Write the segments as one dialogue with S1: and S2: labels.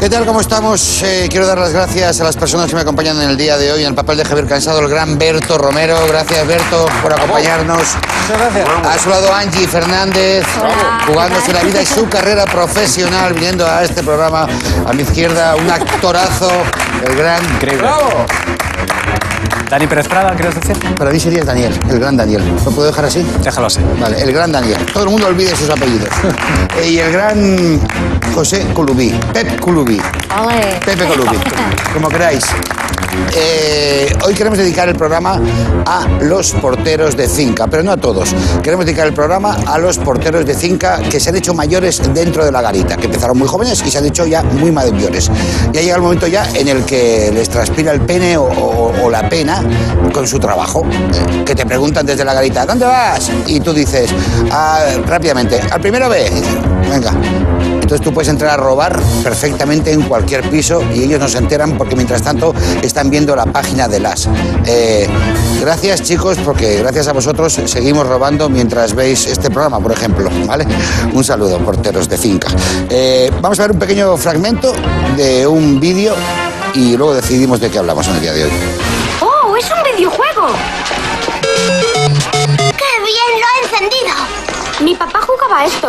S1: ¿Qué tal? ¿Cómo estamos? Eh, quiero dar las gracias a las personas que me acompañan en el día de hoy en el papel de Javier Cansado, el gran Berto Romero. Gracias, Berto, por acompañarnos.
S2: Muchas gracias.
S1: A su lado, Angie Fernández, jugándose la vida y su carrera profesional, viniendo a este programa. A mi izquierda, un actorazo, el gran...
S2: Increíble. Dani Pérez Prada, ¿quieres decir?
S1: Para mí sería Daniel, el gran Daniel. ¿Lo puedo dejar así?
S2: Déjalo así.
S1: Vale, el gran Daniel. Todo el mundo olvide sus apellidos. Eh, y el gran José Colubí, Pep Colubí.
S3: Ole.
S1: Pepe Colubí, como queráis. Eh, hoy queremos dedicar el programa a los porteros de finca, pero no a todos. Queremos dedicar el programa a los porteros de finca que se han hecho mayores dentro de la garita, que empezaron muy jóvenes y se han hecho ya muy mayores. Ya llega el momento ya en el que les transpira el pene o, o- o la pena con su trabajo, eh, que te preguntan desde la garita, ¿dónde vas? Y tú dices "Ah, rápidamente, al primero ve, venga. Entonces tú puedes entrar a robar perfectamente en cualquier piso y ellos no se enteran porque mientras tanto están viendo la página de las. Eh, gracias chicos porque gracias a vosotros seguimos robando mientras veis este programa, por ejemplo. ¿vale? Un saludo, porteros de finca. Eh, vamos a ver un pequeño fragmento de un vídeo y luego decidimos de qué hablamos en el día de hoy.
S4: ¡Oh, es un videojuego! ¡Qué bien lo ha encendido! Mi papá jugaba a esto.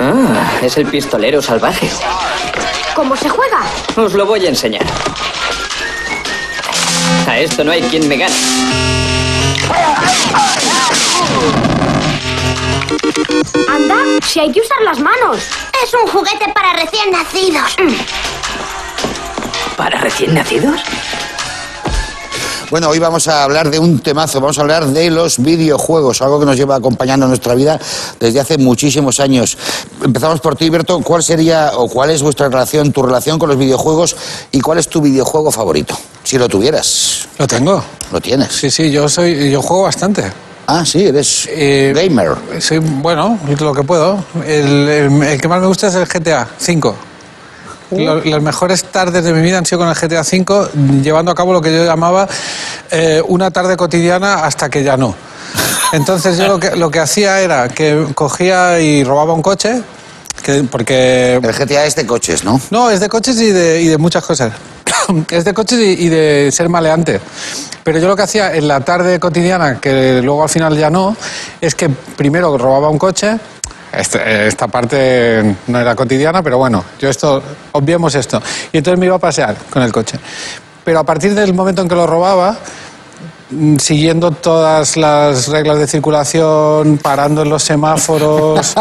S5: Ah, es el pistolero salvaje.
S4: ¿Cómo se juega?
S5: Os lo voy a enseñar. A esto no hay quien me gane.
S4: Anda, si hay que usar las manos.
S6: Es un juguete para recién nacidos.
S3: Mm.
S5: ¿Para recién nacidos?
S1: Bueno, hoy vamos a hablar de un temazo, vamos a hablar de los videojuegos, algo que nos lleva acompañando nuestra vida desde hace muchísimos años. Empezamos por ti, Berto. ¿Cuál sería o cuál es vuestra relación, tu relación con los videojuegos y cuál es tu videojuego favorito? Si lo tuvieras,
S7: Lo tengo.
S1: lo tienes.
S7: Sí, sí, yo soy yo juego bastante.
S1: Ah, sí, eres
S7: Eh,
S1: gamer.
S7: Soy, bueno, lo que puedo. El, el- el que más me gusta es el GTA V. Lo- las mejores tardes de mi vida han sido con el GTA V, llevando a cabo lo que yo llamaba eh, una tarde cotidiana hasta que ya no. Entonces yo lo que, lo que hacía era que cogía y robaba un coche, que- porque
S1: El GTA es de coches, ¿no?
S7: no, es de coches y de, y de muchas cosas. es de coches y, y de ser maleante. Pero yo lo que hacía en la tarde cotidiana, que luego al final ya no, es que primero robaba un coche. Este- eh, esta parte no era cotidiana, pero bueno, yo esto, obviemos esto. Y entonces me iba a pasear con el coche. Pero a partir del momento en que lo robaba, mm, siguiendo todas las reglas de circulación, parando en los semáforos,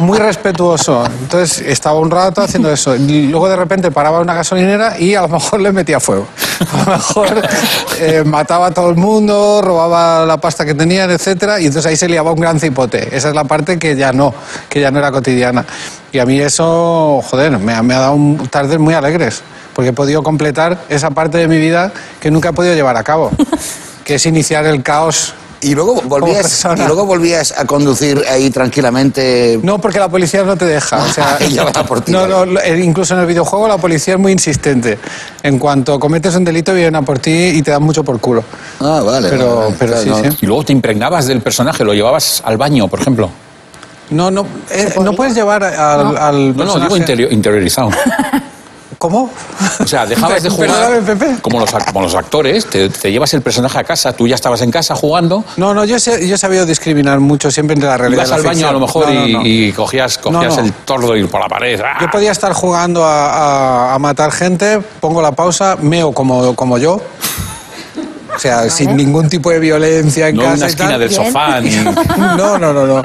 S7: muy respetuoso. Entonces estaba un rato haciendo eso. Y Luego de repente paraba en una gasolinera y a lo mejor le metía fuego. A lo mejor eh, mataba a todo el mundo, robaba la pasta que tenían, etcétera, y entonces ahí se liaba un gran cipote. Esa es la parte que ya no, que ya no era cotidiana. Y a mí eso, joder, me ha, me ha dado un- tardes muy alegres, porque he podido completar esa parte de mi vida que nunca he podido llevar a cabo, que es iniciar el caos
S1: Y luego volvías,
S7: persona.
S1: y luego volvías a conducir ahí tranquilamente.
S7: No, porque la policía no te deja. O sea,
S1: Ella va por ti,
S7: no,
S1: vale.
S7: no, lo- eh, incluso en el videojuego la policía es muy insistente. En cuanto cometes un delito, vienen a por ti y te dan mucho por culo.
S1: Ah, vale.
S7: Pero-
S1: vale, vale.
S7: pero
S1: Claro,
S7: sí,
S1: no.
S7: sí.
S8: Y luego te impregnabas del personaje, lo llevabas al baño, por ejemplo.
S7: No, no, eh, no puedes llevar al, al
S8: No, no, digo
S7: personaje-
S8: interior- interiorizado.
S7: ¿Cómo?
S8: O sea, dejabas de jugar.
S7: Perdóname, Pepe.
S8: Como los, ac- como los actores, te, te llevas el personaje a casa, tú ya estabas en casa jugando,
S7: No, no, yo, sé- yo he sabido discriminar mucho siempre entre la realidad
S8: ibas
S7: y la
S8: al baño
S7: ficción.
S8: a lo mejor
S7: No, no,
S8: y-
S7: no.
S8: y, cogías, cogías
S7: No, no.
S8: el tordo y por la pared. ¡ah!
S7: Yo podía estar jugando a, a- a matar gente, pongo la pausa, meo como, como yo. O sea, sin ningún tipo de violencia en
S8: no en
S7: casa.
S8: una
S7: y tal.
S8: esquina del
S3: Bien.
S8: sofá. ni-
S7: No, no, no, no.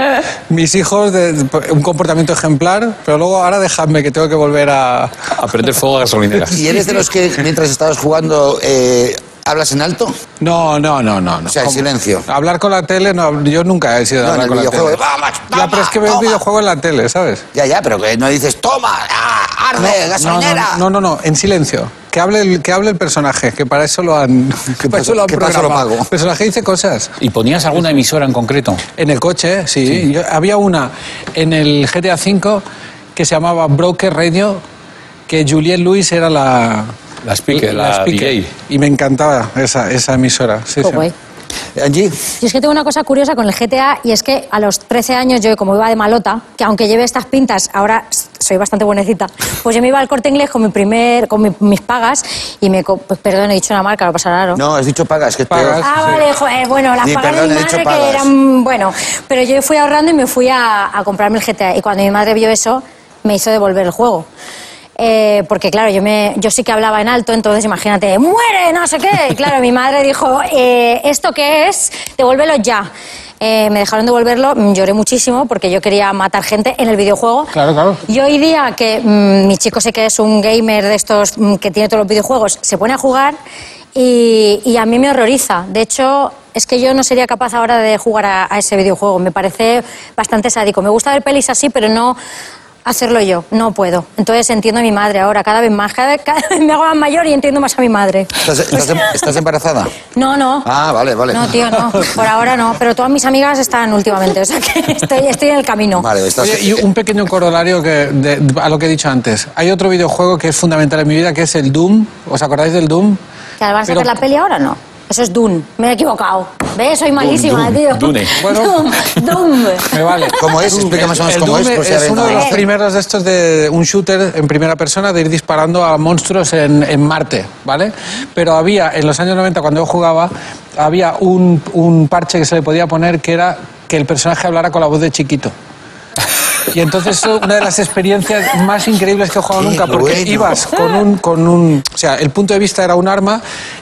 S7: Mis hijos, de, de- un comportamiento ejemplar, pero luego ahora dejadme que tengo que volver a...
S8: a prender fuego a gasolineras.
S1: ¿Y eres de los que mientras estabas jugando eh, hablas en alto?
S7: No, no, no, no. no.
S1: O sea, en
S7: Como-
S1: silencio.
S7: Hablar con la tele, no, yo nunca he sido de
S1: No, en
S7: hablar
S1: el
S7: con la
S1: videojuego.
S7: tele.
S1: ¡Vamos,
S7: ya, pero es que veo
S1: toma!
S7: videojuego en la tele, ¿sabes?
S1: Ya, ya, pero que no dices, toma, ah, arde,
S7: No, no,
S1: gasolinera.
S7: no, no, no, en silencio. Que hable, el, que hable el personaje, que para eso lo han, que para
S1: paso-
S7: eso lo han
S1: que paso lo
S7: programado.
S1: pago.
S7: El personaje dice cosas.
S8: ¿Y ponías alguna emisora en concreto?
S7: En el coche, sí. Yo- había una en el GTA V que se llamaba Broker Radio, que Juliette Lewis era la...
S8: La speaker, la DJ.
S7: Y me encantaba esa, esa emisora. Sí,
S3: Qué
S7: sí.
S3: Oh, guay.
S1: Angie,
S3: eh. Yo es que tengo una cosa curiosa con el GTA y es que a los 13 años yo, como iba de malota, que aunque lleve estas pintas, ahora s- soy bastante buenecita, pues yo me iba al corte inglés con mi primer, con mi- mis pagas y me... co- Pues perdón, he dicho una marca, lo pasará, ¿no?
S1: no, has dicho pagas, que es peor.
S7: Pagas.
S3: Ah, vale, joder, bueno, las
S1: Ni
S3: pagas de
S1: perdón,
S3: mi
S1: he dicho
S3: madre que
S1: pagas.
S3: eran... Bueno, pero yo fui ahorrando y me fui a, a comprarme el GTA y cuando mi madre vio eso, me hizo devolver el juego. Eh, porque claro, yo, me, yo sí que hablaba en alto, entonces imagínate, muere, no sé qué. Y claro, mi madre dijo, eh, ¿esto qué es? Devuélvelo ya. Eh, me dejaron devolverlo, mm, lloré muchísimo porque yo quería matar gente en el videojuego.
S7: Claro, claro.
S3: Y hoy día que mm, mi chico sé que es un gamer de estos mm, que tiene todos los videojuegos, se pone a jugar y, y a mí me horroriza. De hecho, es que yo no sería capaz ahora de jugar a, a ese videojuego. Me parece bastante sádico. Me gusta ver pelis así, pero no hacerlo yo. No puedo. Entonces entiendo a mi madre ahora cada vez más. Cada vez, cada vez me hago más mayor y entiendo más a mi madre.
S1: ¿Estás, estás
S7: Pues
S1: em- estás embarazada?
S3: No, no.
S1: Ah, vale, vale.
S3: No, tío, no. Por ahora no. Pero todas mis amigas están últimamente. O sea que estoy, estoy en el camino.
S1: Vale, estás...
S7: Oye, y un pequeño corolario que- de- a lo que he dicho antes. Hay otro videojuego que es fundamental en mi vida, que es el Doom. ¿Os acordáis del Doom?
S3: ¿Que van a sacar
S7: Pero-
S3: la peli ahora o no? Eso es Dune. Me he equivocado. ¿Ves? Soy malísima,
S8: Dune,
S3: tío.
S8: Dune.
S7: Bueno.
S3: Dune, Dune.
S7: Me vale.
S1: ¿Cómo es? Explica más o menos
S7: El
S1: cómo
S7: Doom
S1: es. por si
S7: es
S1: alguien
S7: uno
S1: no
S7: de
S1: lo
S7: los
S1: sabe.
S7: primeros de estos de un shooter en primera persona de ir disparando a monstruos en, en Marte, ¿vale? Pero había, en los años 90, cuando yo jugaba, había un, un parche que se le podía poner que era que el personaje hablara con la voz de chiquito. Y entonces fue una de las experiencias más increíbles que he jugado
S1: Qué
S7: nunca, porque
S1: bueno.
S7: ibas con un, con un... O sea, el punto de vista era un arma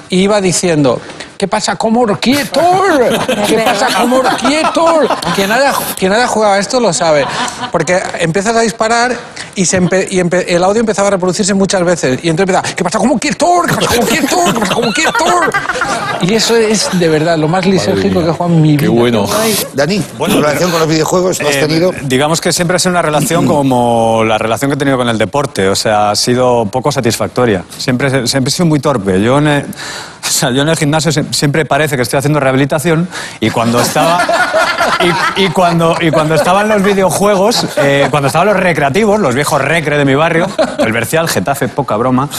S7: y iba diciendo... ¿Qué pasa, Comor Quietor? ¿Qué pasa, Comor Quietor? Quien haya, quien haya jugado a esto lo sabe. Porque empiezas a disparar y, se empe- y empe- el audio empezaba a reproducirse muchas veces. Y entonces empezaba, ¿qué pasa, Comor Quietor? ¿Qué pasa, Comor Quietor? ¿Qué pasa, Comor Quietor? Y eso es, de verdad, lo más lisérgico que he jugado en mi vida.
S8: Qué bueno.
S1: Dani, bueno, relación con los videojuegos no has
S2: Eh,
S1: tenido.
S2: digamos que siempre ha sido una relación como la relación que he tenido con el deporte, o sea, ha sido poco satisfactoria. Siempre, siempre he sido muy torpe. Yo en, el, o sea, yo en el gimnasio sie- siempre parece que estoy haciendo rehabilitación y cuando estaba... Y, y cuando, y cuando estaban los videojuegos, eh, cuando estaban los recreativos, los viejos recre de mi barrio, el Bercial, Getafe, poca broma,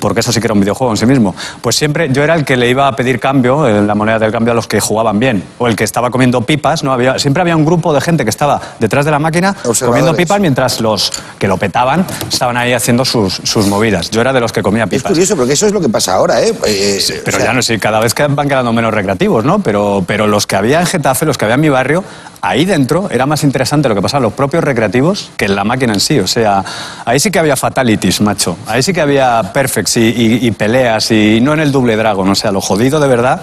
S2: porque eso sí que era un videojuego en sí mismo, pues siempre yo era el que le iba a pedir cambio, eh, la moneda del cambio a los que jugaban bien, o el que estaba comiendo pipas, ¿no? Había, siempre había un grupo de gente que estaba detrás de la máquina
S1: Observadores.
S2: comiendo pipas mientras los que lo petaban estaban ahí haciendo sus, sus movidas. Yo era de los que comía
S1: Es
S2: pipas.
S1: curioso, porque eso es lo que pasa ahora, ¿eh? Eh,
S2: Pero
S1: o sea,
S2: ya no sé, cada vez que van quedando menos recreativos, ¿no? Pero, pero los que había en Getafe, los que había en mi barrio, ahí dentro era más interesante lo que pasaba en los propios recreativos que en la máquina en sí. O sea, ahí sí que había fatalities, macho. Ahí sí que había perfects y, y- y peleas y no en el doble dragon. O sea, lo jodido de verdad.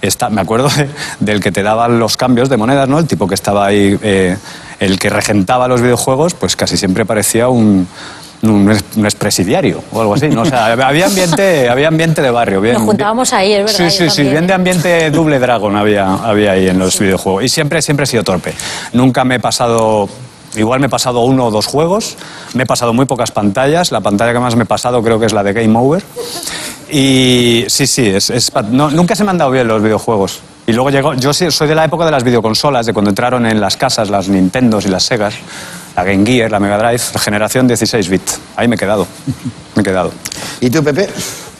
S2: Está, me acuerdo de- del que te daban los cambios de monedas, ¿no? El tipo que estaba ahí, eh, el que regentaba los videojuegos, pues casi siempre parecía un. Un, ex- un expresidiario o algo así. ¿no? O sea, había ambiente, había ambiente de barrio. bien-
S3: Nos juntábamos ahí, es verdad,
S2: Sí,
S3: yo
S2: sí, sí.
S3: también. ¿eh?
S2: Bien de ambiente doble dragón había, había ahí en los videojuegos. Y siempre, siempre he sido torpe. Nunca me he pasado. Igual me he pasado uno o dos juegos, me he pasado muy pocas pantallas, la pantalla que más me he pasado creo que es la de Game Over. Y sí, sí, es, es pa- no, nunca se me han dado bien los videojuegos. Y luego llegó, yo sí- soy de la época de las videoconsolas, de cuando entraron en las casas las Nintendos y las Segas, la Game Gear, la Mega Drive, generación 16-bit. Ahí me he quedado, me he quedado.
S1: ¿Y tú, Pepe?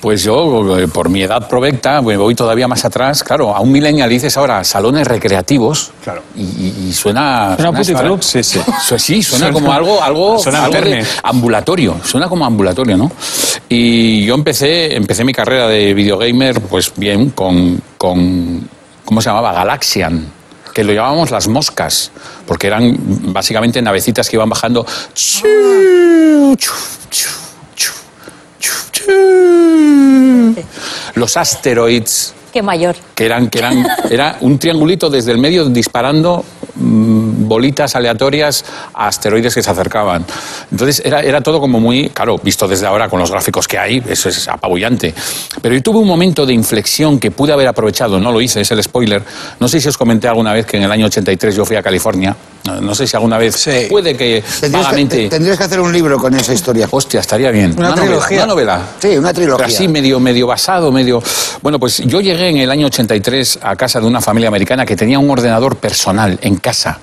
S8: Pues yo, eh, por mi edad provecta, me voy todavía más atrás. Claro, a un millennial dices ahora salones recreativos. Claro. Y, y- y suena.
S7: Suena puticlub.
S8: Sí, sí. sí, suena, como algo, algo,
S2: Suena
S8: algo de
S2: verne.
S8: ambulatorio. Suena como ambulatorio, ¿no? Y yo empecé, empecé mi carrera de videogamer, pues bien, con, con ¿cómo se llamaba? Galaxian que lo llamábamos las moscas, porque eran básicamente navecitas que iban bajando. Chiu, chu, chu, chu, chu, chu. Los asteroides,
S3: Qué mayor.
S8: que eran, que eran era un triangulito desde el medio disparando mm, bolitas aleatorias a asteroides que se acercaban. Entonces era, era todo como muy, claro, visto desde ahora con los gráficos que hay, eso es apabullante. Pero yo tuve un momento de inflexión que pude haber aprovechado, no lo hice, es el spoiler. No sé si os comenté alguna vez que en el año 83 yo fui a California. No, no sé si alguna vez
S7: Sí.
S8: puede que
S1: Tendrías que,
S8: vagamente...
S1: te- tendrías que hacer un libro con esa historia.
S8: Hostia, estaría bien.
S7: Una
S8: novela,
S7: trilogía.
S8: una novela.
S1: Sí, una
S8: Pero
S1: trilogía.
S8: así medio, medio basado, medio... Bueno, pues yo llegué en el año 83 a casa de una familia americana que tenía un ordenador personal en casa.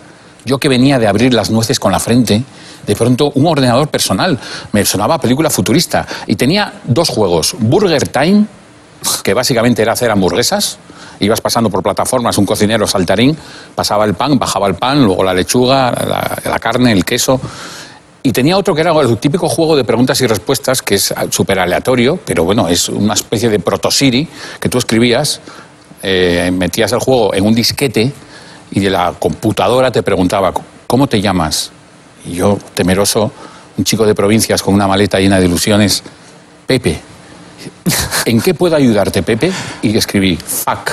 S8: Yo que venía de abrir las nueces con la frente, de pronto un ordenador personal. Me sonaba a película futurista. Y tenía dos juegos, Burger Time que básicamente era hacer hamburguesas. Ibas pasando por plataformas, un cocinero saltarín, pasaba el pan, bajaba el pan, luego la lechuga, la, la carne, el queso. Y tenía otro que era el típico juego de preguntas y respuestas, que es súper aleatorio, pero bueno, es una especie de proto-Siri que tú escribías, eh, metías el juego en un disquete y de la computadora te preguntaba, ¿cómo te llamas? Y yo, temeroso, un chico de provincias con una maleta llena de ilusiones, Pepe. ¿En qué puedo ayudarte, Pepe? Y escribí, fuck.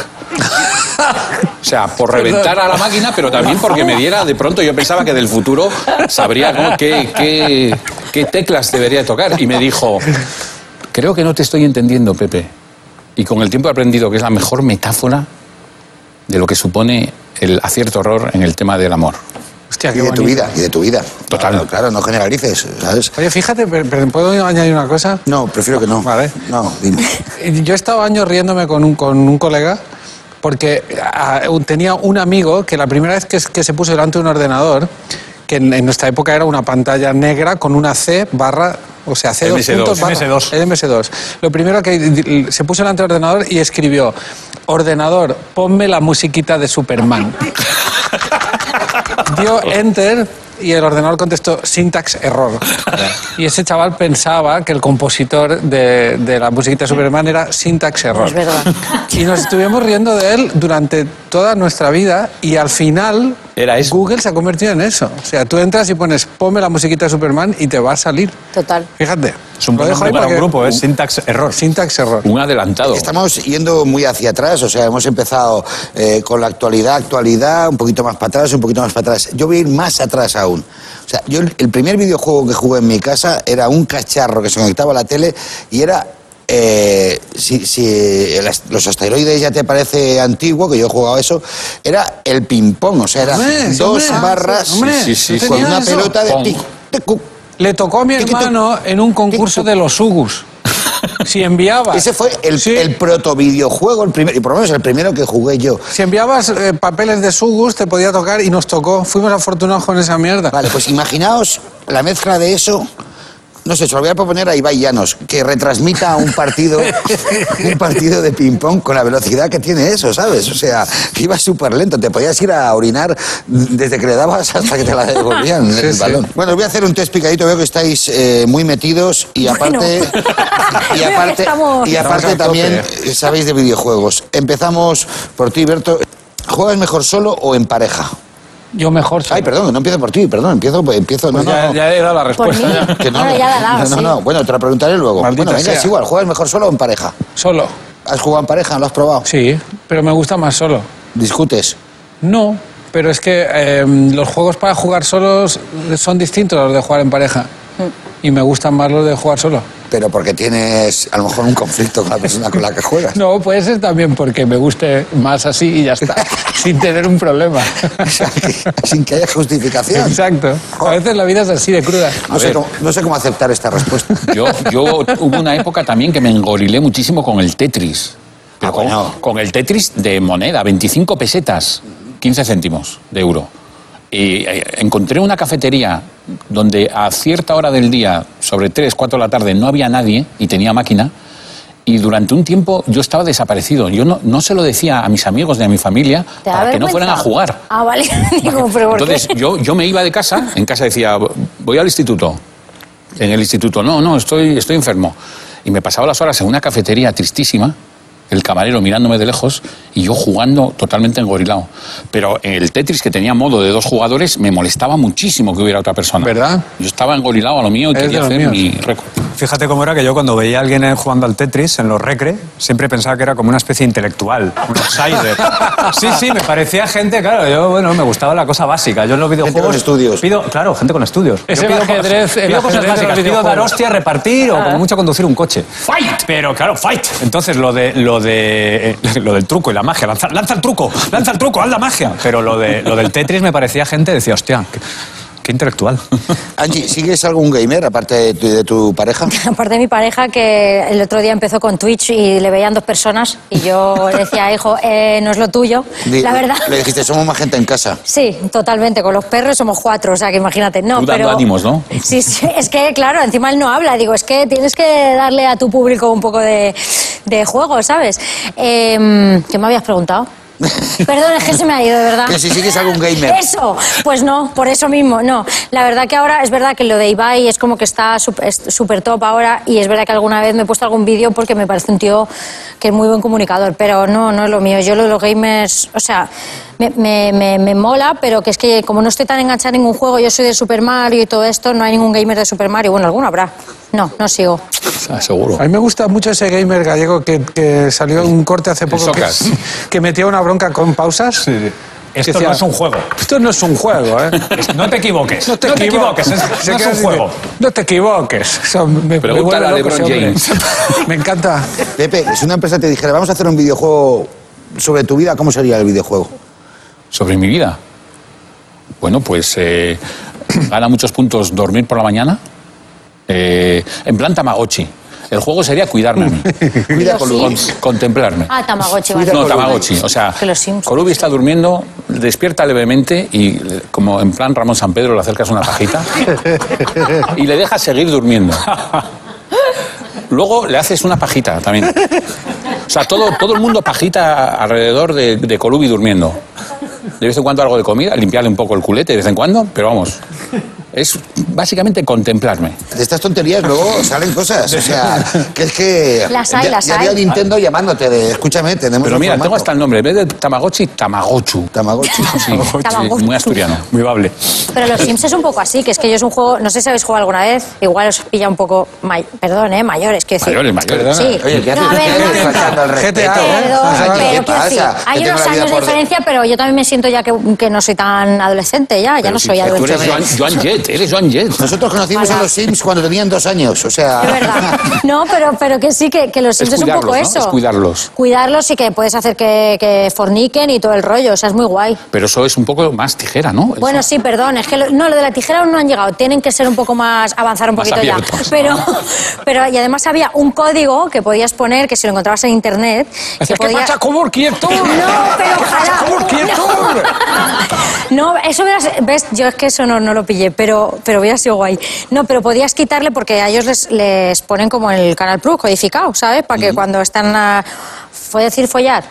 S8: O sea, por reventar a la máquina, pero también porque me diera, de pronto yo pensaba que del futuro sabría cómo- qué, qué- qué teclas debería tocar. Y me dijo, creo que no te estoy entendiendo, Pepe. Y con el tiempo he aprendido que es la mejor metáfora de lo que supone el acierto-error en el tema del amor.
S7: Hostia,
S1: Y
S7: qué
S1: de tu
S7: bonito.
S1: vida, y de tu vida.
S8: Total.
S1: Claro, claro, no generalices, ¿sabes?
S7: Oye, fíjate, per- per- ¿puedo añadir una cosa?
S1: No, prefiero que no.
S7: Vale.
S1: No, dime.
S7: Yo he estado años riéndome con un, con un colega porque ah, tenía un amigo que la primera vez que, es- que se puso delante de un ordenador, que en, en nuestra época era una pantalla negra con una C barra, o sea, C2
S8: MS2.
S7: puntos barra-
S2: MS2.
S7: MS2. Lo primero que di- se puso delante del ordenador y escribió, ordenador, ponme la musiquita de Superman. Dio enter y el ordenador contestó syntax error. Y ese chaval pensaba que el compositor de, de la musiquita de Superman era syntax error.
S3: Es verdad.
S7: Y nos estuvimos riendo de él durante toda nuestra vida y al final
S8: Era eso.
S7: Google se ha convertido en eso. O sea, tú entras y pones ponme la musiquita de Superman y te va a salir.
S3: Total.
S7: Fíjate.
S2: Es un
S7: Lo
S2: buen
S7: dejo
S2: nombre
S7: ahí
S2: para un
S7: que-
S2: grupo, es Syntax Error.
S7: Syntax error.
S8: Un adelantado.
S1: Estamos yendo muy hacia atrás, o sea, hemos empezado eh, con la actualidad, actualidad, un poquito más para atrás, un poquito más para atrás. Yo voy a ir más atrás aún. O sea, yo el, el primer videojuego que jugué en mi casa era un cacharro que se conectaba a la tele y era... eh, si, si el as- los asteroides ya te parece antiguo, que yo he jugado eso, era el ping-pong, o sea, era
S7: Hombre,
S1: dos
S7: hombre,
S1: barras
S7: hombre,
S8: Sí, sí,
S7: ¿no
S8: sí,
S1: con
S7: tenía
S1: una
S7: eso?
S1: pelota de
S8: Pong.
S1: tic, tic, cuc.
S7: Le tocó a mi
S1: Tic-toc.
S7: hermano en un concurso
S1: Tic-toc.
S7: de los Ugus. Si enviaba.
S1: Ese fue el,
S7: Sí.
S1: el proto videojuego, el primer, y por lo menos el primero que jugué yo.
S7: Si enviabas eh, papeles de Sugus, te podía tocar y nos tocó. Fuimos afortunados con esa mierda.
S1: Vale, pues imaginaos la mezcla de eso. No sé, se lo voy a proponer a Ibai Llanos, que retransmita un partido, un partido de ping-pong con la velocidad que tiene eso, ¿sabes? O sea, que iba súper lento. Te podías ir a orinar desde que le dabas hasta que te la devolvían
S7: Sí,
S1: el
S7: sí.
S1: balón. Bueno, os voy a hacer un test picadito. Veo que estáis eh, muy metidos y
S3: Bueno.
S1: aparte. Y
S3: Veo que
S1: aparte,
S3: estamos-
S1: y aparte
S7: Estamos a tope.
S1: también eh, sabéis de videojuegos. Empezamos por ti, Berto. ¿Juegas mejor solo o en pareja?
S7: Yo mejor.
S1: Ay, perdón, no empiezo por ti, perdón, empiezo, pues, empiezo,
S7: Pues
S1: no,
S8: Ya,
S1: no.
S8: ya he dado la
S3: Por
S8: respuesta.
S3: mí.
S8: ya.
S1: Que no,
S3: Ahora ya la he dado,
S1: no, no,
S3: sí.
S1: no, bueno, te la preguntaré luego.
S7: Maldita
S1: bueno, venga,
S7: sea.
S1: es igual, ¿juegas mejor solo o en pareja?
S7: Solo.
S1: ¿Has jugado en pareja? ¿Lo has probado?
S7: Sí, pero me gusta más solo.
S1: ¿Discutes?
S7: No, pero es que eh, los juegos para jugar solos son distintos a los de jugar en pareja. Y me gustan más los de jugar solo.
S1: Pero porque tienes a lo mejor un conflicto con la persona con la que juegas.
S7: No, puede ser también porque me guste más así y ya está, sin tener un problema.
S1: O sea, que- sin que haya justificación.
S7: Exacto. A veces la vida es así de cruda.
S1: No sé, cómo, no sé cómo aceptar esta respuesta.
S8: Yo, yo hubo una época también que me engorilé muchísimo con el Tetris. Pero
S1: Ah,
S8: con,
S1: bueno.
S8: con el Tetris de moneda, 25 pesetas, 15 céntimos de euro. Y eh, encontré una cafetería donde a cierta hora del día, sobre 3, 4 de la tarde, no había nadie y tenía máquina. Y durante un tiempo yo estaba desaparecido. Yo no, no se lo decía a mis amigos ni a mi familia
S3: ¿Te da
S8: para que no
S3: vergüenza?
S8: fueran a jugar.
S3: Ah, vale. Digo, pero ¿por
S8: Entonces
S3: qué?
S8: yo, yo me iba de casa, en casa decía, voy al instituto. En el instituto, no, no, estoy, estoy enfermo. Y me pasaba las horas en una cafetería tristísima, el camarero mirándome de lejos y yo jugando totalmente engorilado. Pero el Tetris, que tenía modo de dos jugadores, me molestaba muchísimo que hubiera otra persona.
S7: ¿Verdad?
S8: Yo estaba engorilado a lo mío y
S7: Eres
S8: quería
S7: de los
S8: hacer mi
S7: míos.
S8: récord.
S2: Fíjate cómo era que yo cuando veía a alguien eh, jugando al Tetris en los recre, siempre pensaba que era como una especie de intelectual, un outsider. Sí, sí, me parecía gente, claro, yo, bueno, me gustaba la cosa básica. Yo en los videojuegos...
S1: con estudios.
S2: Pido, claro, gente con estudios. Yo
S7: Ese
S2: pido
S7: ajedrez-
S2: cosas-
S7: el
S2: pido cosas
S7: ajedrez de los
S2: básicas, pido dar
S7: videojuegos. Ah.
S2: hostia, repartir o como mucho conducir un coche. ¡Fight! Pero claro, fight. Entonces lo de lo de eh, lo del truco y la magia, lanza, lanza el truco, lanza el truco, haz la magia. Pero lo de lo del Tetris me parecía gente, decía, hostia, qué- qué intelectual.
S1: Angie, ¿sigues algún gamer aparte de tu, de tu pareja?
S3: Aparte de mi pareja que el otro día empezó con Twitch y le veían dos personas y yo le decía, hijo, eh, no es lo tuyo,
S1: Di-
S3: la verdad.
S1: Le dijiste, somos más gente en casa.
S3: Sí, totalmente. Con los perros somos cuatro, o sea que imagínate. No,
S8: Tú dando
S3: pero...
S8: ánimos, ¿no?
S3: Sí, sí. Es que, claro, encima él no habla. Digo, es que tienes que darle a tu público un poco de, de de juegos, ¿sabes? Em, ¿Qué me habías preguntado? Perdón, es que se me ha ido, de verdad.
S1: Que si sigues algún gamer.
S3: Eso, pues no, por eso mismo, no. La verdad que ahora es verdad que lo de Ibai es como que está sup- es súper top ahora y es verdad que alguna vez me he puesto algún vídeo porque me parece un tío que es muy buen comunicador, pero no, no es lo mío. Yo lo de los gamers, o sea, me, me- me- me mola, pero que es que como no estoy tan enganchada a ningún juego, yo soy de Super Mario y todo esto, no hay ningún gamer de Super Mario. Bueno, alguno habrá. No, no sigo.
S8: Ah, seguro.
S7: A mí me gusta mucho ese gamer gallego que, que salió en un corte hace poco que,
S8: Socas.
S7: que metía una bronca con pausas.
S9: Esto
S7: Decía-
S9: no es un juego.
S7: Esto no es un juego, ¿eh?
S9: No te equivoques.
S7: No te
S9: equivoques.
S7: equivoques.
S9: es-
S7: Se
S9: no es
S7: queda
S9: un
S7: así
S9: juego.
S7: de, No te equivoques. O sea, me, me
S8: Pregúntale
S7: vuelve
S8: a
S7: loco ese
S8: LeBron
S7: hombre. Me encanta.
S1: Pepe, si una empresa te dijera, vamos a hacer un videojuego sobre tu vida, ¿cómo sería el videojuego?
S8: sobre mi vida. Bueno, pues eh, gana muchos puntos dormir por la mañana. Eh, en plan Tamagotchi. El juego sería cuidarme a mí.
S1: Cuida con
S8: Con-
S1: Luis.
S8: contemplarme.
S3: Ah, Tamagotchi, vale.
S1: Mira
S8: No,
S1: Colubi.
S8: Tamagotchi. O sea,
S3: Que los Simpsons.
S8: Colubi está durmiendo, despierta levemente y, eh, como en plan Ramón San Pedro, le acercas una pajita y le dejas seguir durmiendo. Luego le haces una pajita también. O sea, todo, todo el mundo pajita alrededor de, de Colubi durmiendo. De vez en cuando algo de comida, limpiarle un poco el culete de vez en cuando, pero vamos. Es básicamente contemplarme.
S1: De estas tonterías luego salen cosas. O sea, que es que.
S3: Las hay,
S1: ya,
S3: las
S1: ya había
S3: hay.
S1: Nintendo llamándote de, escúchame, tenemos.
S8: Pero
S1: un
S8: mira, tengo
S1: formato".
S8: hasta el nombre. En vez de Tamagotchi, Tamagochu.
S1: Tamagotchi.
S8: Sí,
S3: Tamagotchi.
S8: muy asturiano.
S2: Muy bable.
S3: Pero los Sims es un poco así, que es que yo es un juego, no sé si habéis jugado alguna vez, igual os pilla un poco, may- perdón, ¿eh? Mayores, quiero decir.
S8: Mayores, mayores.
S3: Sí.
S1: Oye, ¿qué
S3: No,
S1: haces?
S3: a
S1: ¿Qué
S3: ver, no,
S1: haces
S3: no, no.
S1: faltando al respeto?
S7: GTA, ¿eh?
S3: Perdón,
S1: Ay, ¿qué
S3: pero quiero
S1: pasa?
S3: decir, hay
S1: Que tengo
S3: unos
S1: la vida
S3: años de
S1: por de-
S3: diferencia, pero yo también me siento ya que, que no soy tan adolescente ya, ya no soy
S8: Tú eres
S3: adolescente.
S8: Joan, Joan Jett, eres Joan Jett.
S1: Nosotros conocimos a
S3: Ojalá.
S1: los Sims cuando tenían dos años, o sea.
S3: Es verdad. No, pero, pero que sí, que, que los Sims es, un
S8: cuidarlos,
S3: poco
S8: ¿no?
S3: eso.
S8: Es cuidarlos.
S3: Cuidarlos y que puedes hacer que, que forniquen y todo el rollo, o sea, es muy guay.
S8: Pero eso es un poco más tijera, ¿no?
S3: Bueno, sí, perdón, es que lo, no, lo de la tijera aún no han llegado, tienen que ser un poco más, avanzar un
S8: Más
S3: poquito
S8: abiertos.
S3: ya. Pero, pero, y además había un código que podías poner, que si lo encontrabas en internet, que podía-
S7: ¿Cómo quieto?
S3: No, pero ojalá.
S7: ¿Cómo quieto?
S3: No, eso hubieras, ves, yo es que eso no, no lo pillé, pero, pero hubiera sido guay. No, pero podías quitarle porque a ellos les, les ponen como el Canal Plus codificado, ¿sabes? Para que cuando están a... ¿Fue decir follar?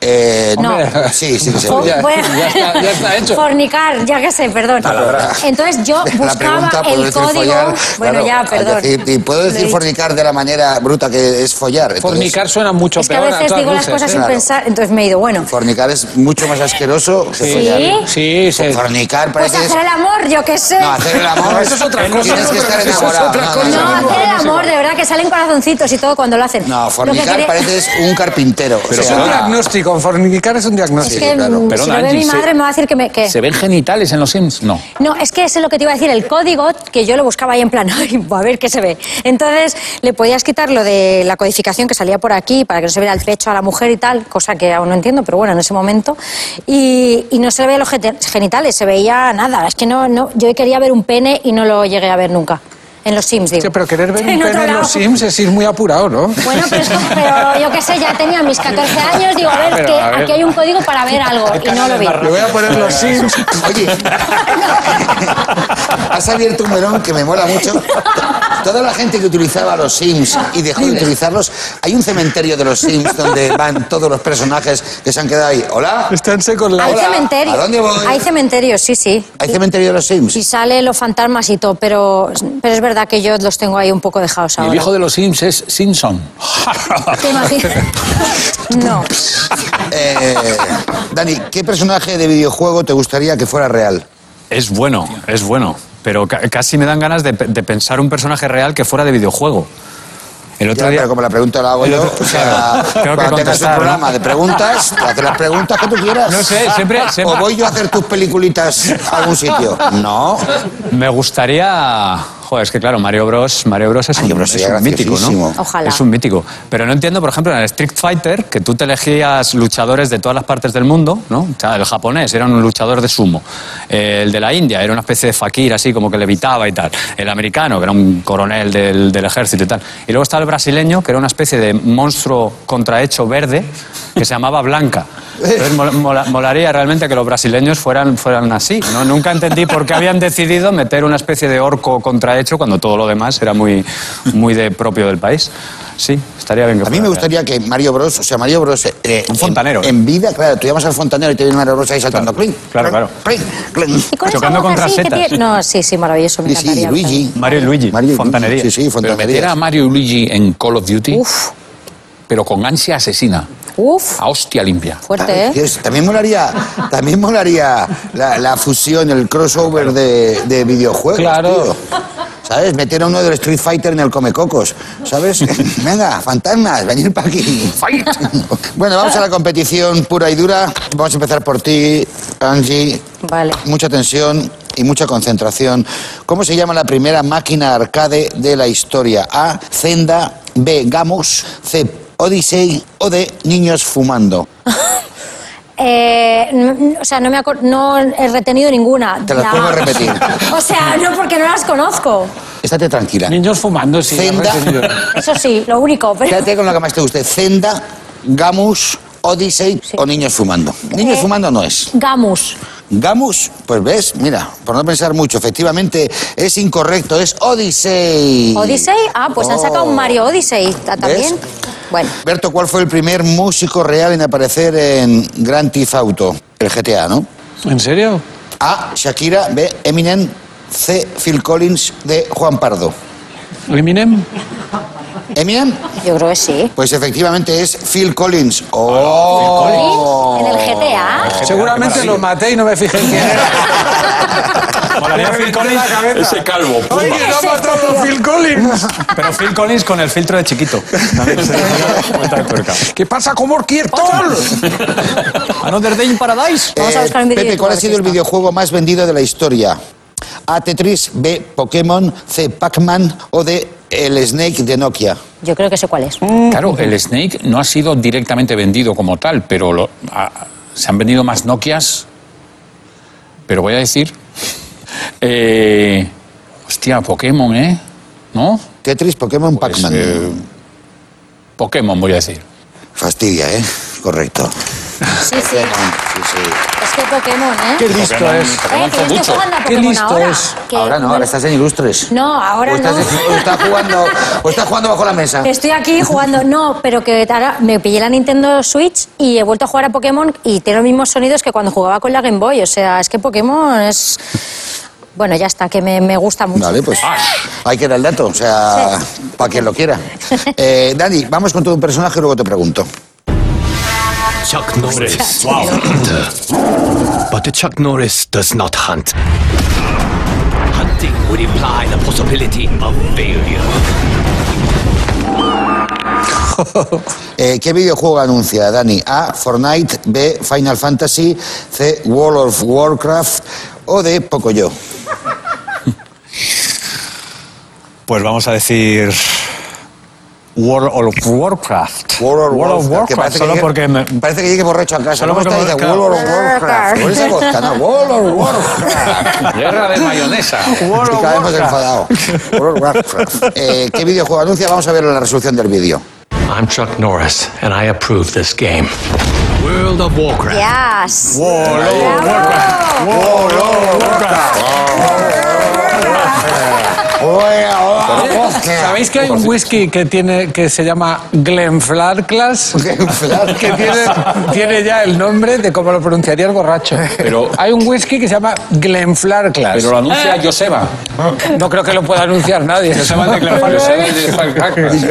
S1: Eh,
S3: No.
S1: Sí, sí que se
S3: Fo-
S1: podía.
S3: Oh, bueno,
S7: ya está- ya está hecho.
S3: Fornicar, ya que sé, perdón. Entonces yo buscaba
S1: ¿puedo
S3: el
S1: decir
S3: código...
S1: follar?
S3: bueno,
S1: Claro,
S3: ya, perdón.
S1: Y, y puedo
S3: Lo he
S1: decir
S3: dicho.
S1: fornicar de la manera bruta que es follar. entonces-
S7: Fornicar suena mucho
S3: Es que a
S7: peor.
S3: veces
S7: todas
S3: digo las
S7: luces,
S3: cosas
S7: ¿eh?
S3: sin
S1: claro.
S3: pensar, entonces me he ido, bueno.
S1: Fornicar es mucho más asqueroso que follar.
S7: Sí, sí.
S1: Fornicar
S3: Pues
S1: parece. que es-
S3: hacer el amor, yo qué sé.
S1: No, hacer el amor.
S7: eso es otra cosa,
S1: Tienes
S7: no,
S1: que
S7: pero
S1: estar
S7: eso es
S1: enamorado.
S7: otra
S1: no,
S7: cosa.
S1: no,
S3: No,
S1: no.
S3: hacer el amor, de verdad, que salen corazoncitos y todo cuando lo hacen.
S1: No,
S3: Lo que
S1: fornicar
S3: quería-
S1: pareces un carpintero. o
S8: Pero
S7: Es un
S1: sea,
S8: perdona.
S7: diagnóstico, fornicar es un
S3: Es
S7: diagnóstico.
S3: que
S1: claro.
S3: mm, si
S8: Perdona,
S3: lo ve mi
S8: Angie, se-
S3: madre me va a decir que me... que-
S8: ¿Se ven genitales en los Sims? No.
S3: No, es que eso es lo que te iba a decir, el código, que yo lo buscaba ahí en plan, "Ay, a ver qué se ve. Entonces, le podías quitar lo de la codificación que salía por aquí para que no se viera el pecho a la mujer y tal, cosa que aún no entiendo, pero bueno, en ese momento. Y, y no se le veía los gete- genitales, se veía nada. Es que no, no, yo quería ver un pene y no lo llegué a ver nunca. En los Sims, digo.
S7: Sí, pero querer ver un
S3: En otro
S7: pene en
S3: lado.
S7: los Sims es ir muy apurado, ¿no?
S3: Bueno, pero, es como- pero yo qué sé, ya tenía mis 14 años, digo, a ver,
S7: Pero,
S3: que
S7: a ver.
S3: aquí hay un código para ver algo, y no lo vi.
S7: Le voy a poner los Sims.
S1: Oye, has abierto un melón que me mola mucho. Toda la gente que utilizaba los Sims y dejó de utilizarlos, hay un cementerio de los Sims donde van todos los personajes que se han quedado ahí. Hola,
S7: Están secos la
S3: Hay
S1: Hola,
S3: cementerios.
S1: ¿a dónde voy?
S3: Hay cementerios, sí, sí.
S1: hay cementerio de los
S3: Y
S1: Sims.
S3: sale los fantasmas y todo, pero, pero es verdad que yo los tengo ahí un poco dejados
S8: Y el
S3: ahora.
S8: viejo de los Sims es Simpson.
S3: ¿Te imaginas? No.
S1: Eh, Dani, ¿qué personaje de videojuego te gustaría que fuera real?
S2: Es bueno, es bueno. Pero ca- casi me dan ganas de, pe- de pensar un personaje real que fuera de videojuego. El otro
S1: Ya,
S2: día.
S1: pero como la pregunta la hago yo, o sea,
S2: Tengo que
S1: cuando tengas un
S2: contestar, ¿no?
S1: programa de preguntas, te haces las preguntas que tú quieras.
S2: No sé, siempre-
S1: O
S2: siempre-
S1: voy yo a hacer tus peliculitas a algún sitio. No.
S2: Me gustaría. Joder, es que claro, Mario Bros. Mario Bros. es
S1: Mario
S2: un,
S1: Bros
S2: es
S1: sería
S2: un mítico, ¿no?
S1: graciosísimo.
S3: Ojalá.
S2: Es un mítico. Pero no entiendo, por ejemplo, en el Street Fighter, que tú te elegías luchadores de todas las partes del mundo, ¿no? O sea, el japonés era un luchador de sumo. Eh, El de la India era una especie de fakir, así como que levitaba y tal. El americano, que era un coronel del, del ejército y tal. Y luego estaba el brasileño, que era una especie de monstruo contrahecho verde, que se llamaba Blanca. Entonces mol- mola- molaría realmente que los brasileños fueran, fueran así. ¿no? Nunca entendí por qué habían decidido meter una especie de orco contrahecho cuando todo lo demás era muy, muy de propio del país. Sí, estaría bien que
S1: A mí
S2: fuera
S1: me
S2: real.
S1: gustaría que Mario Bros, o sea, Mario Bros. eh,
S2: Un
S1: en-
S2: fontanero.
S1: En, vida, claro, tú llamas al fontanero y te viene Mario Bros ahí saltando.
S2: Claro,
S1: clink,
S2: claro, claro.
S1: clink, clink,
S3: Y con
S2: Chocando
S3: esa voz
S2: contra
S3: así que
S2: setas.
S3: tiene- No, sí, sí, maravilloso. Me
S1: Sí, sí,
S3: encantaría.
S1: Luigi.
S2: Mario y Luigi,
S1: Mario y Luigi,
S2: fontanería.
S1: Sí, sí,
S8: Pero meter a
S1: fontanería.
S8: Mario y Luigi en Call of Duty,
S3: Uf,
S8: pero con ansia asesina,
S3: uf,
S8: a hostia limpia.
S3: fuerte, ¿eh?
S1: Dios, también molaría, también molaría la, la fusión, el crossover de, de videojuegos.
S7: Claro.
S1: tío. ¿Sabes? Meter a uno del Street Fighter en el Comecocos. ¿Sabes? Venga, fantasmas, venir para aquí. Bueno, vamos a la competición pura y dura. Vamos a empezar por ti, Angie.
S3: Vale.
S1: Mucha tensión y mucha concentración. ¿Cómo se llama la primera máquina arcade de la historia? A. Zenda. B. Gamos. C. Odyssey. O D. Niños fumando.
S3: Eh, n- n- o sea, no, me acor- no he retenido ninguna.
S1: Te las
S3: La-
S1: puedo repetir.
S3: O sea, no porque no las conozco.
S1: Estate tranquila.
S7: Niños fumando, sí.
S1: Zenda.
S7: he entendido.
S3: Eso sí, lo único. Pero...
S1: Quédate con la que más te guste. Zenda, Gamus, Odyssey
S3: Sí.
S1: o Niños fumando. Niños
S3: Eh.
S1: fumando no es.
S3: Gamus.
S1: Gamus, pues ves, mira, por no pensar mucho, efectivamente es incorrecto, es Odyssey.
S3: Odyssey. Ah, pues han sacado
S1: Oh.
S3: un Mario Odyssey ah, también.
S1: ¿Ves?
S3: Bueno,
S1: Berto, ¿cuál fue el primer músico real en aparecer en Grand Theft Auto? El GTA, ¿no?
S7: ¿En serio?
S1: A. Shakira, B. Eminem, C. Phil Collins, D. Juan Pardo.
S7: ¿Eminem?
S1: Eminem,
S3: yo creo que sí.
S1: pues efectivamente es Phil Collins. Oh.
S3: En el GTA.
S7: Seguramente lo maté y no me fijé en quién era.
S2: Molaría Phil Collins,
S8: Ese calvo.
S7: ¡Oye, lo ha matado Phil Collins!
S2: pero Phil Collins con el filtro de chiquito. También se llama vuelta de tuerca.
S7: ¿Qué pasa con Orquiertol?
S2: Another Day in Paradise.
S3: Vamos a
S1: Eh,
S3: buscar un vídeo de
S1: Pepe,
S3: tu
S1: ¿cuál ha sido el
S3: artista?
S1: videojuego más vendido de la historia? A. Tetris, B. Pokémon, C. Pac-Man o D. El Snake de Nokia.
S3: Yo creo que sé cuál es.
S8: Claro, el Snake no ha sido directamente vendido como tal, pero lo- a- se han vendido más Nokias. Pero voy a decir. eh, hostia, Pokémon, ¿eh? ¿No?
S1: Tetris, Pokémon,
S8: Pues,
S1: Pac-Man.
S8: eh, Pokémon, voy a decir.
S1: Fastidia, ¿eh? Correcto.
S3: Sí, sí.
S1: Sí, sí.
S3: Es que Pokémon, ¿eh?
S7: ¡Qué listo
S8: Pokémon-
S2: Pues,
S7: es!
S8: Pokémon
S3: Eh, que
S8: fue
S3: yo estoy
S8: mucho.
S3: jugando a
S7: Qué
S3: Pokémon
S7: listo
S3: ahora.
S7: es.
S3: que
S1: Ahora no, ahora estás en ilustres.
S3: No, ahora
S1: o estás,
S3: no.
S1: o estás jugando, o estás jugando bajo la mesa.
S3: Estoy aquí jugando, no, pero que ahora me pillé la Nintendo Switch y he vuelto a jugar a Pokémon y tiene los mismos sonidos que cuando jugaba con la Game Boy. O sea, es que Pokémon es. Bueno, ya está, que me, me gusta mucho.
S1: Vale, pues
S8: Ah.
S1: hay que dar el dato, o sea, para quien lo quiera. Eh, Dani, vamos con todo un personaje y luego te pregunto.
S10: Chuck Norris. Wow. but Chuck Norris does not hunt. Hunting would imply the possibility of failure.
S1: Eh, ¿Qué videojuego anuncia, Dani? A. Fortnite, B. Final Fantasy, C. World of Warcraft o D. Pocoyo.
S2: Pues vamos a decir. World of Warcraft. World of
S1: que
S2: Warcraft.
S1: parece
S2: Solo
S1: que
S2: porque me.
S1: llegue- Parece que llegue borracho a casa.
S2: Solo
S1: ¿Cómo
S2: porque
S1: está?
S2: me-
S1: Dice, World of Warcraft. Con esa voz, ¿no? World of Warcraft.
S8: Guerra de mayonesa.
S1: Estoy cada vez más enfadado. World of Warcraft. Eh, ¿Qué videojuego anuncia? Vamos a ver la resolución del vídeo.
S10: I'm Chuck Norris, and I approve this game. World of Warcraft.
S3: Yes.
S7: ¿Sabéis que hay un whisky que, tiene, que se llama Glenfarclas? Que tiene, tiene ya el nombre de cómo lo pronunciaría el borracho.
S8: Pero-
S7: hay un whisky que se llama Glenfarclas.
S8: Pero lo
S2: Eh.
S8: anuncia Joseba.
S7: No creo que lo pueda anunciar nadie.
S8: Joseba de Clarfal, Joseba de Clarfal.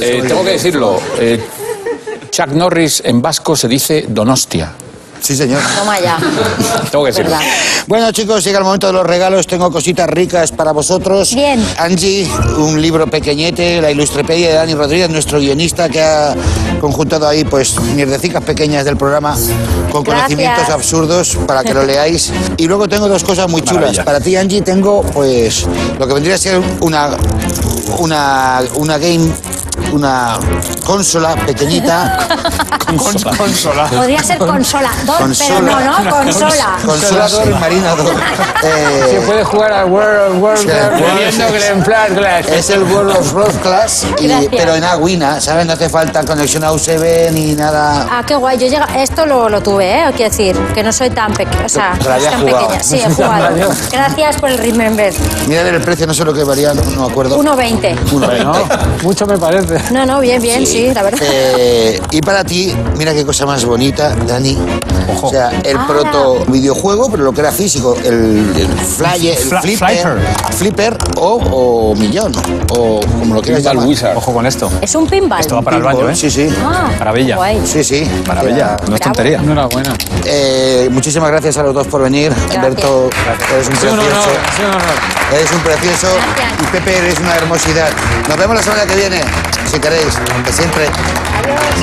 S8: Eh, tengo que decirlo. eh, Chuck Norris en vasco se dice Donostia.
S1: Sí, señor.
S3: Toma ya.
S8: Tengo que decirlo.
S3: Verdad.
S1: Bueno, chicos, llega el momento de los regalos. Tengo cositas ricas para vosotros.
S3: Bien.
S1: Angie, un libro pequeñete, la Ilustrepedia de Dani Rodríguez, nuestro guionista que ha conjuntado ahí, pues, mierdecicas pequeñas del programa con
S3: Gracias.
S1: conocimientos absurdos para que lo leáis. Y luego tengo dos cosas muy chulas. Para ti, Angie, tengo, pues, lo que vendría a ser una, una, una game una consola pequeñita.
S2: Consola.
S3: Podría ser consolador, pero no, ¿no? Consola.
S1: Consolador y marinador. Eh,
S7: Se puede jugar al World of
S1: Sí,
S7: Warcraft
S1: World-
S7: bebiendo Glenflar Glass.
S1: Es el World of Broadcast, y,
S3: Gracias.
S1: pero en Agüina, ¿sabes? No hace falta conexión a USB ni nada.
S3: Ah, qué guay. Yo llega... Esto lo, lo tuve, ¿eh? Quiero decir, que no soy tan pequeña. O sea,
S1: Pero habías
S3: tan
S1: jugado.
S3: pequeña. Sí, he jugado. Gracias por el remember.
S1: Mirad el precio, no sé lo que varía, no, no me acuerdo.
S3: 1,20.
S1: 1,20.
S7: Mucho me parece.
S3: No, no, bien, bien, sí, la verdad.
S1: Eh, y para ti, mira qué cosa más bonita, Dani. O sea, el
S3: Ah.
S1: proto videojuego, pero lo que era físico, el, el flyer, el
S2: Fla-
S1: flipper,
S2: flipper.
S1: flipper o, o millón, o como lo quieras
S8: Pinball
S1: llamar.
S8: Wizard.
S2: Ojo con esto.
S3: Es un pinball.
S2: Esto va para el baño,
S1: Pinball,
S2: ¿eh?
S1: Sí, sí.
S3: Ah,
S2: Maravilla.
S3: guay.
S1: Sí, sí.
S2: Maravilla. No es
S3: Bravo.
S2: tontería.
S7: Enhorabuena.
S1: Eh, muchísimas gracias a los dos por venir. Alberto, eres un
S7: Sí, un
S1: precioso.
S7: honor, sí, un honor.
S1: Eres un precioso.
S3: Gracias.
S1: Y Pepe, eres una hermosidad. Nos vemos la semana que viene, si queréis, aunque siempre.
S3: Adiós.